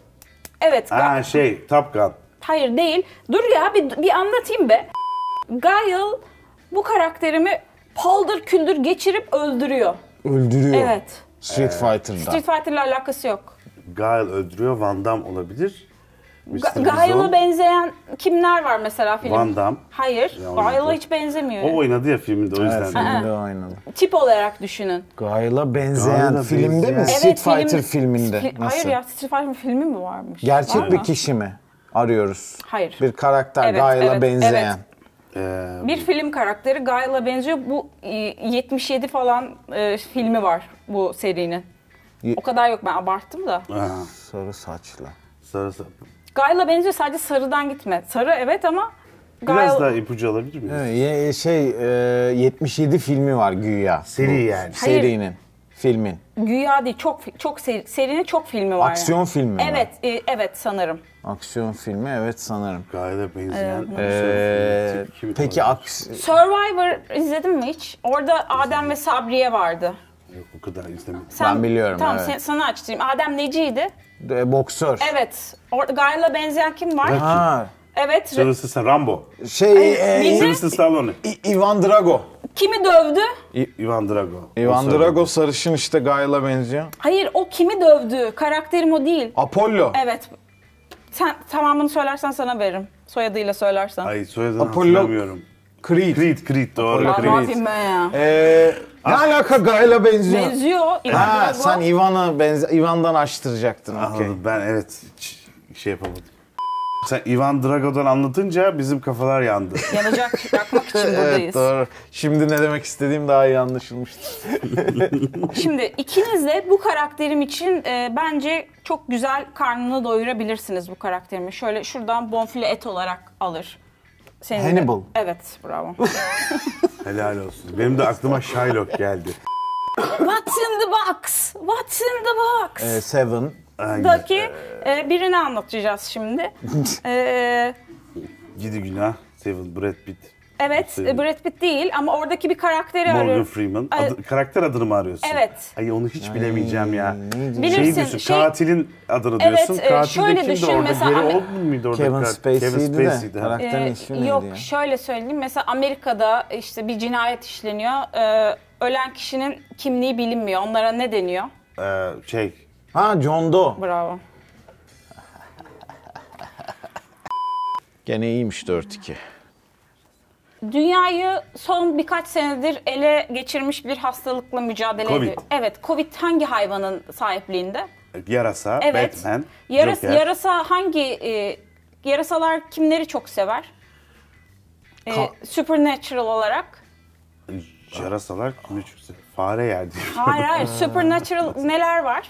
Speaker 3: Evet. Gu-
Speaker 1: Aa şey Top Gun.
Speaker 3: Hayır değil. Dur ya bir, bir anlatayım be. Guile bu karakterimi paldır küldür geçirip öldürüyor.
Speaker 2: Öldürüyor.
Speaker 3: Evet.
Speaker 1: Ee,
Speaker 2: Street Fighter'da.
Speaker 3: Street Fighter'la alakası yok.
Speaker 1: Guile öldürüyor. Van Damme olabilir. Mr.
Speaker 3: Ga-
Speaker 1: Bison.
Speaker 3: Guile'a benzeyen kimler var mesela film?
Speaker 1: Van Damme.
Speaker 3: Hayır.
Speaker 1: Ya
Speaker 3: Guile'a
Speaker 1: oynadı.
Speaker 3: hiç benzemiyor.
Speaker 1: O oynadı ya filminde o
Speaker 2: Evet,
Speaker 1: yüzden.
Speaker 2: filmde oynadı.
Speaker 3: Tip olarak düşünün.
Speaker 2: Guile'a benzeyen
Speaker 1: Guile'a
Speaker 2: filmde mi?
Speaker 1: benzeyen.
Speaker 2: Street
Speaker 3: film-
Speaker 2: Fighter filminde.
Speaker 3: Fi-
Speaker 2: Nasıl?
Speaker 3: Hayır ya Street Fighter filmi mi varmış?
Speaker 2: Gerçek
Speaker 3: Var
Speaker 2: bir
Speaker 3: mı?
Speaker 2: kişi mi arıyoruz?
Speaker 3: Hayır.
Speaker 2: Bir karakter
Speaker 3: Evet,
Speaker 2: Guile'a
Speaker 3: evet,
Speaker 2: benzeyen.
Speaker 1: Ee,
Speaker 3: Bir film karakteri Guile'a benziyor. Bu e, 77 falan e, filmi var bu serinin.
Speaker 2: Ye-
Speaker 3: O kadar yok ben abarttım da.
Speaker 1: aha,
Speaker 2: Sarı saçlı.
Speaker 1: sarı sarı.
Speaker 3: Guile'a benziyor sadece sarıdan gitme. Sarı evet ama
Speaker 1: Biraz
Speaker 3: Guile-
Speaker 1: daha ipucu alabilir miyiz?
Speaker 2: Evet, ye- şey e, 77 filmi var güya.
Speaker 1: Seri yani.
Speaker 3: Hayır.
Speaker 2: Serinin, filmin.
Speaker 3: güya değil çok çok seri, serinin çok filmi var. yani.
Speaker 2: Aksiyon filmi mi?
Speaker 3: Evet, e, evet sanırım.
Speaker 2: Aksiyon filmi evet sanırım.
Speaker 1: Guile'a benzeyen.
Speaker 2: Ee,
Speaker 1: sarı film. Kim
Speaker 2: peki
Speaker 1: olabilir?
Speaker 2: aks
Speaker 3: Survivor izledin mi hiç? Orada Adem ve Sabriye vardı.
Speaker 1: Yok o kadar izlemedim.
Speaker 2: Ben biliyorum,
Speaker 3: Tamam
Speaker 2: evet.
Speaker 3: sen- sana açtırayım. Adem neciydi?
Speaker 2: e, boksör.
Speaker 3: Evet. Orada Gayla benzeyen kim var?
Speaker 1: Rocky.
Speaker 2: Ha,
Speaker 3: Evet.
Speaker 1: Sarısı sarı Rambo.
Speaker 2: şey
Speaker 3: Ay,
Speaker 2: e,
Speaker 3: Ne?
Speaker 1: Sarısı Stallone.
Speaker 2: İ- Ivan Drago.
Speaker 3: Kimi dövdü?
Speaker 1: Ivan Drago.
Speaker 2: Ivan
Speaker 1: O sarı.
Speaker 2: Drago sarışın işte Guile'a benziyor.
Speaker 3: Hayır o kimi dövdü? Karakterim o değil.
Speaker 2: Apollo.
Speaker 3: Evet. Sen tamamını söylersen sana veririm. Soyadıyla söylersen.
Speaker 1: Ay soyadını
Speaker 2: Apollo-
Speaker 1: hatırlamıyorum.
Speaker 2: Creed.
Speaker 1: Creed, Creed doğru.
Speaker 2: Apollo
Speaker 3: Aa, ne
Speaker 1: Creed.
Speaker 3: yapayım ben ya?
Speaker 2: Ee, ne alaka Guile'a benziyor?
Speaker 3: Benziyor. İvan
Speaker 2: Ha,
Speaker 3: Drago.
Speaker 2: sen Ivan'a benze Ivan'dan açtıracaktın. okey.
Speaker 1: Anladım ben evet hiç şey yapamadım. Sen Ivan Drago'dan anlatınca bizim kafalar yandı.
Speaker 3: Yanacak, yakmak için
Speaker 2: Evet
Speaker 3: buradayız.
Speaker 2: doğru. Şimdi ne demek istediğim daha iyi anlaşılmıştı.
Speaker 3: Şimdi ikiniz de bu karakterim için e, bence çok güzel karnını doyurabilirsiniz bu karakterimi. Şöyle şuradan bonfile et olarak alır. Senin de-
Speaker 2: Hannibal.
Speaker 3: Evet, bravo.
Speaker 1: Helal olsun. Benim de aklıma Shylock geldi.
Speaker 3: What's in the box? What's in the box?
Speaker 2: Ee, Seven.
Speaker 1: Aynen.
Speaker 3: Daki e, birini anlatacağız şimdi. E,
Speaker 1: Gidi günah. Seven Brad Pitt.
Speaker 3: evet, e, Brad Pitt değil ama oradaki bir karakteri
Speaker 1: Morgan
Speaker 3: arıyorum.
Speaker 1: Freeman.
Speaker 3: Ay-
Speaker 1: Adı- karakter adını mı arıyorsun?
Speaker 3: Evet.
Speaker 1: Ay onu hiç bilemeyeceğim ya.
Speaker 3: Bilirsin,
Speaker 1: Şeyi diyorsun,
Speaker 3: şey-
Speaker 1: katilin adını
Speaker 3: Evet,
Speaker 1: diyorsun.
Speaker 3: e,
Speaker 1: Katil
Speaker 3: şöyle
Speaker 1: de kimdi
Speaker 3: düşün,
Speaker 1: orada?
Speaker 3: mesela
Speaker 1: Gary
Speaker 3: Amer-
Speaker 1: Oldman mıydı orada?
Speaker 2: Kevin
Speaker 1: Ka-
Speaker 2: Spacey'di
Speaker 1: ha.
Speaker 2: de. Karakter- Karakterin ismi neydi
Speaker 3: E, yok
Speaker 2: ya?
Speaker 3: şöyle söyleyeyim mesela Amerika'da işte bir cinayet işleniyor. E, ölen kişinin kimliği bilinmiyor. Onlara ne deniyor?
Speaker 1: Ee, şey.
Speaker 2: Ha John Doe.
Speaker 3: Bravo.
Speaker 2: Gene iyiymiş 4-2.
Speaker 3: Dünyayı son birkaç senedir ele geçirmiş bir hastalıkla mücadele
Speaker 1: Covid.
Speaker 3: ediyor. Evet, Covid hangi hayvanın sahipliğinde?
Speaker 1: Yarasa,
Speaker 3: Evet.
Speaker 1: Batman,
Speaker 3: Yaras-
Speaker 1: Joker.
Speaker 3: yarasa hangi e, yarasalar kimleri çok sever? E,
Speaker 1: Ka-
Speaker 3: supernatural olarak.
Speaker 1: Yarasalar kimi çok sever? Fare yer diyor.
Speaker 3: Hayır hayır. supernatural neler var?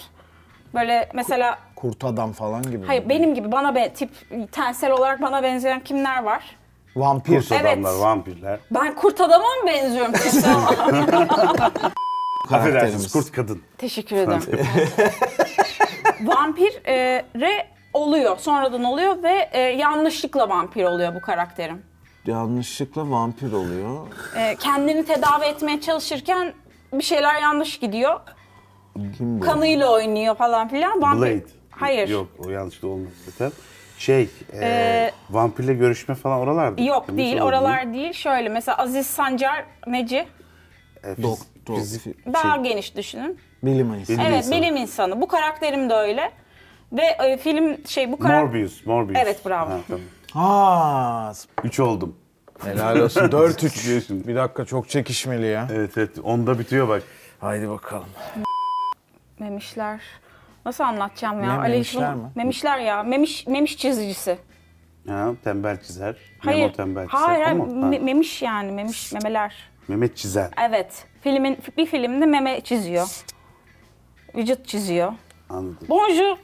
Speaker 3: Böyle mesela
Speaker 2: Kurt adam falan gibi. mi?
Speaker 3: hayır benim gibi bana be, tip tensel olarak bana benzeyen kimler var?
Speaker 2: Vampir.
Speaker 1: Kurt adamlar, vampirler.
Speaker 3: Ben kurt adama mı benziyorum? tipsel olarak?
Speaker 1: Affedersiniz
Speaker 2: karakterimiz.
Speaker 1: kurt kadın.
Speaker 3: Teşekkür ederim. vampir e, re oluyor. Sonradan oluyor ve e, yanlışlıkla vampir oluyor bu karakterim.
Speaker 2: Yanlışlıkla vampir oluyor.
Speaker 3: E, kendini tedavi etmeye çalışırken bir şeyler yanlış gidiyor.
Speaker 2: Kim bu?
Speaker 3: kanıyla oynuyor falan filan. Vampir...
Speaker 1: Blade.
Speaker 3: Hayır.
Speaker 1: Yok o yanlışlıkla olmaz zaten. Şey, e,
Speaker 3: Ee,
Speaker 1: vampirle görüşme falan oralarda.
Speaker 3: Yok
Speaker 1: Temiz
Speaker 3: değil.
Speaker 1: oldu.
Speaker 3: Oralar değil. Şöyle mesela Aziz Sancar neci?
Speaker 1: E, fiz-
Speaker 2: Doktor.
Speaker 1: fizik-
Speaker 3: Daha geniş düşünün.
Speaker 2: Bilim insanı.
Speaker 1: Şey, Bilim
Speaker 3: evet,
Speaker 1: insanı.
Speaker 3: bilim insanı. Bu karakterim de öyle. Ve e, film şey bu karakter
Speaker 1: Morbius, Morbius.
Speaker 3: Evet, bravo.
Speaker 1: tamam.
Speaker 2: Aa,
Speaker 1: Üç oldum.
Speaker 2: helal olsun. 4-3.
Speaker 1: Diyorsun.
Speaker 2: bir dakika çok çekişmeli ya.
Speaker 1: Evet evet, onda bitiyor bak.
Speaker 2: Haydi bakalım.
Speaker 3: memişler. Nasıl anlatacağım ya?
Speaker 2: Ne,
Speaker 3: Ali
Speaker 2: memişler
Speaker 3: Işıl'ın-
Speaker 2: mi?
Speaker 3: Memişler ya. Memiş memiş çizicisi.
Speaker 1: Ha, tembel çizer.
Speaker 3: Hayır.
Speaker 1: Memo tembel çizer.
Speaker 3: hayır. hayır.
Speaker 1: O mu? Ha,
Speaker 3: Me- memiş yani. Memiş memeler.
Speaker 1: Mehmet çizer.
Speaker 3: Evet. Filmin bir filmde meme çiziyor. Vücut çiziyor.
Speaker 1: Anladım.
Speaker 3: Bonjour.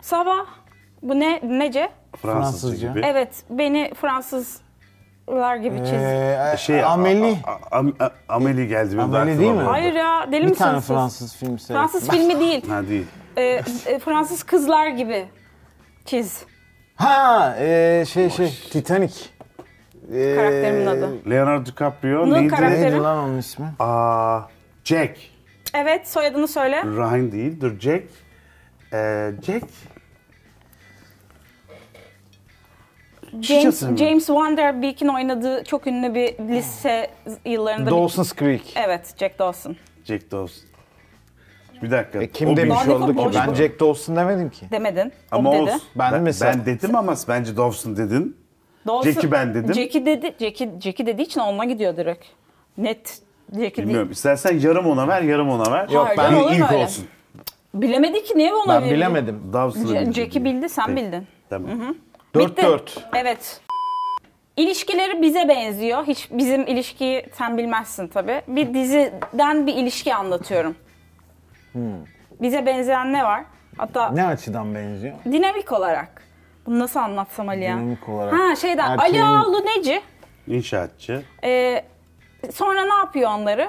Speaker 3: Sabah. Bu ne? Nece?
Speaker 1: Fransızca,
Speaker 2: Fransızca.
Speaker 1: gibi.
Speaker 3: Evet. Beni Fransızlar gibi çiz.
Speaker 2: Ee,
Speaker 1: Şey,
Speaker 2: şey,
Speaker 1: a-
Speaker 2: Ameli.
Speaker 1: a- a- am- a- Ameli geldi. benim de
Speaker 2: Ameli
Speaker 1: aklıma
Speaker 2: değil mi?
Speaker 1: bu arada.
Speaker 3: Hayır ya. Deli
Speaker 2: Bir
Speaker 3: misiniz
Speaker 2: tane
Speaker 3: siz?
Speaker 2: Fransız film seyrettim.
Speaker 3: Fransız filmi değil.
Speaker 1: Ha değil.
Speaker 3: Ee, e, Fransız kızlar gibi çiz.
Speaker 2: Ha, ee, şey şey, Titanic. Ee,
Speaker 3: Karakterimin adı.
Speaker 1: Leonardo DiCaprio
Speaker 3: Bunun
Speaker 1: neydi?
Speaker 3: karakteri-
Speaker 2: Neydi lan onun ismi?
Speaker 1: Aa, Jack.
Speaker 3: Evet. Soyadını söyle.
Speaker 1: Ryan değil. Dur Jack. Ee, Jack.
Speaker 3: James,
Speaker 1: Şişesi mi?
Speaker 3: James Vanderbeek'in oynadığı çok ünlü bir lise yıllarında. bir-
Speaker 2: Dawson's Creek.
Speaker 3: Evet. Jack Dawson.
Speaker 1: Jack Dawson. Bir şey dakika.
Speaker 2: E, kim
Speaker 1: o
Speaker 2: demiş
Speaker 1: bilmiş.
Speaker 3: Barbie
Speaker 2: oldu
Speaker 3: futbolcu
Speaker 2: ki? Ben
Speaker 3: mu?
Speaker 2: Jack Dawson demedim ki.
Speaker 3: Demedin. O
Speaker 1: Ama
Speaker 3: dedi.
Speaker 1: olsun.
Speaker 2: Ben de
Speaker 1: Ben,
Speaker 2: mesela-
Speaker 1: ben dedim ama bence Dawson dedin.
Speaker 3: Dawson-
Speaker 1: Jack'i ben dedim.
Speaker 3: Jack'i dedi. Jack'i, Jack'i dediği için onunla gidiyor direkt. Net. Jack'i değil.
Speaker 1: Bilmiyorum. İstersen yarım ona ver, yarım ona ver.
Speaker 2: Yok,
Speaker 3: Hayır,
Speaker 2: ben
Speaker 3: canım, olur mu
Speaker 1: ilk
Speaker 3: öyle?
Speaker 1: olsun.
Speaker 3: Bilemedi ki niye ona
Speaker 2: Ben
Speaker 3: verildi?
Speaker 2: bilemedim.
Speaker 1: Dawson'ı
Speaker 3: Ja-
Speaker 1: bildim.
Speaker 3: Jack'i bildi, sen bildin.
Speaker 1: Tamam.
Speaker 3: Bitti.
Speaker 2: 4-4.
Speaker 3: Evet. İlişkileri bize benziyor. Hiç bizim ilişkiyi sen bilmezsin tabii. Bir diziden bir ilişki anlatıyorum.
Speaker 1: Hmm.
Speaker 3: Bize benzeyen ne var? Hatta
Speaker 2: Ne açıdan benziyor?
Speaker 3: dinamik olarak. Bunu nasıl anlatsam Ali ya?
Speaker 2: Dinamik olarak.
Speaker 3: Ha şeyden
Speaker 2: Erkeğin-
Speaker 3: Ali Ağaoğlu Neci.
Speaker 1: İnşaatçı.
Speaker 3: Ee, sonra ne yapıyor onları?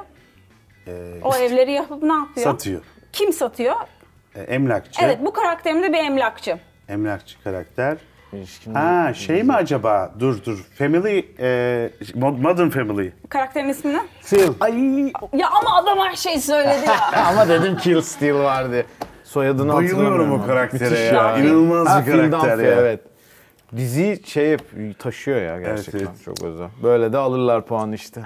Speaker 1: Ee,
Speaker 3: O evleri yapıp ne yapıyor?
Speaker 1: satıyor.
Speaker 3: Kim satıyor?
Speaker 1: Ee, emlakçı.
Speaker 3: Evet bu karakterim de bir emlakçı.
Speaker 1: Emlakçı karakter.
Speaker 2: İlişkin
Speaker 1: Ha şey mi acaba? Dur dur. Family, e, Modern Family.
Speaker 3: Karakterin ismi ne?
Speaker 2: Phil.
Speaker 1: Ay
Speaker 3: Ya ama adam her şeyi söyledi ya.
Speaker 2: Ama dedim Kill Steel vardı. Soyadını
Speaker 1: bayılıyorum
Speaker 2: hatırlamıyorum
Speaker 1: o
Speaker 2: ama.
Speaker 1: karaktere
Speaker 2: Müthiş
Speaker 1: ya. İnanılmaz
Speaker 2: Ha,
Speaker 1: bir
Speaker 2: Phil
Speaker 1: karakter
Speaker 2: Dunphy,
Speaker 1: ya.
Speaker 2: Evet. Dizi şey yap, taşıyor ya gerçekten
Speaker 1: evet.
Speaker 2: çok özel. Böyle de alırlar puan işte.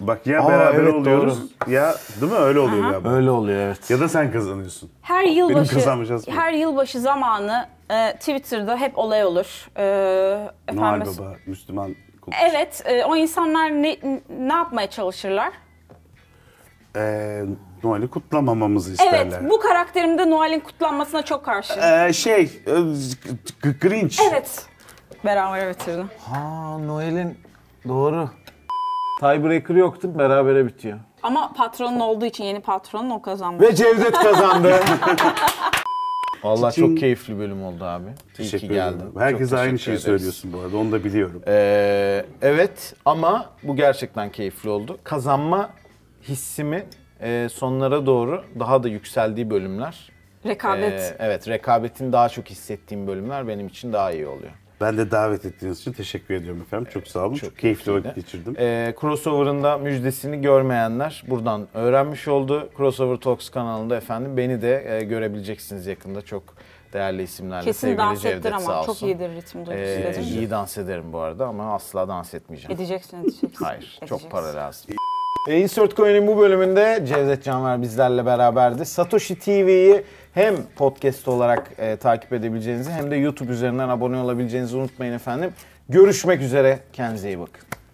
Speaker 1: Bak ya
Speaker 2: Aa,
Speaker 1: beraber
Speaker 2: evet,
Speaker 1: oluyoruz ya değil mi? Öyle oluyor galiba.
Speaker 2: Öyle oluyor evet.
Speaker 1: Ya da sen kazanıyorsun.
Speaker 3: Her yılbaşı
Speaker 1: kazanmayacağız mı?
Speaker 3: her yılbaşı zamanı e, Twitter'da hep olay olur. E,
Speaker 1: Noel
Speaker 3: efendim-
Speaker 1: Baba, Müslüman kul-
Speaker 3: Evet, e, o insanlar ne ne yapmaya çalışırlar?
Speaker 1: Ee, Noel'i kutlamamamızı isterler.
Speaker 3: Evet, bu karakterim de Noel'in kutlanmasına çok karşı.
Speaker 1: Ee, şey, e, Gr- Grinch.
Speaker 3: Evet. Beraber bitirdim.
Speaker 2: Ha Noel'in doğru. Tiebreaker yoktu berabere bitiyor.
Speaker 3: Ama patronun olduğu için yeni patronun o kazandı.
Speaker 2: Ve Cevdet kazandı. Vallahi çok keyifli bölüm oldu abi. İyi ki
Speaker 1: Teşekkür
Speaker 2: geldin.
Speaker 1: ederim. Herkese
Speaker 2: Çok
Speaker 1: aynı
Speaker 2: teşekkür
Speaker 1: şeyi
Speaker 2: ederiz.
Speaker 1: söylüyorsun bu arada. Onu da biliyorum.
Speaker 2: Ee, evet ama bu gerçekten keyifli oldu. Kazanma hissimi e, sonlara doğru daha da yükseldiği bölümler.
Speaker 3: Rekabet.
Speaker 2: Ee, evet rekabetin daha çok hissettiğim bölümler benim için daha iyi oluyor.
Speaker 1: Ben de davet ettiğiniz için teşekkür ediyorum efendim. Çok sağ olun. Çok, keyifli vakit geçirdim.
Speaker 2: Ee, crossover'ın da müjdesini görmeyenler buradan öğrenmiş oldu. Crossover Talks kanalında efendim beni de e, görebileceksiniz yakında çok değerli isimlerle.
Speaker 3: Kesin
Speaker 2: Sevgili
Speaker 3: dans
Speaker 2: Cevdet
Speaker 3: ettir
Speaker 2: sağ
Speaker 3: ama çok
Speaker 2: olsun.
Speaker 3: iyidir ritim duygusu.
Speaker 2: Ee,
Speaker 3: dedim.
Speaker 2: iyi dans ederim bu arada ama asla dans etmeyeceğim.
Speaker 3: Edeceksin, edeceksin.
Speaker 2: Hayır,
Speaker 3: edeceksin.
Speaker 2: çok para lazım. E, Insert Coin'in bu bölümünde Cevdet Canver bizlerle beraberdi. Satoshi TV'yi hem podcast olarak e, takip edebileceğinizi hem de YouTube üzerinden abone olabileceğinizi unutmayın efendim. Görüşmek üzere, kendinize iyi bakın.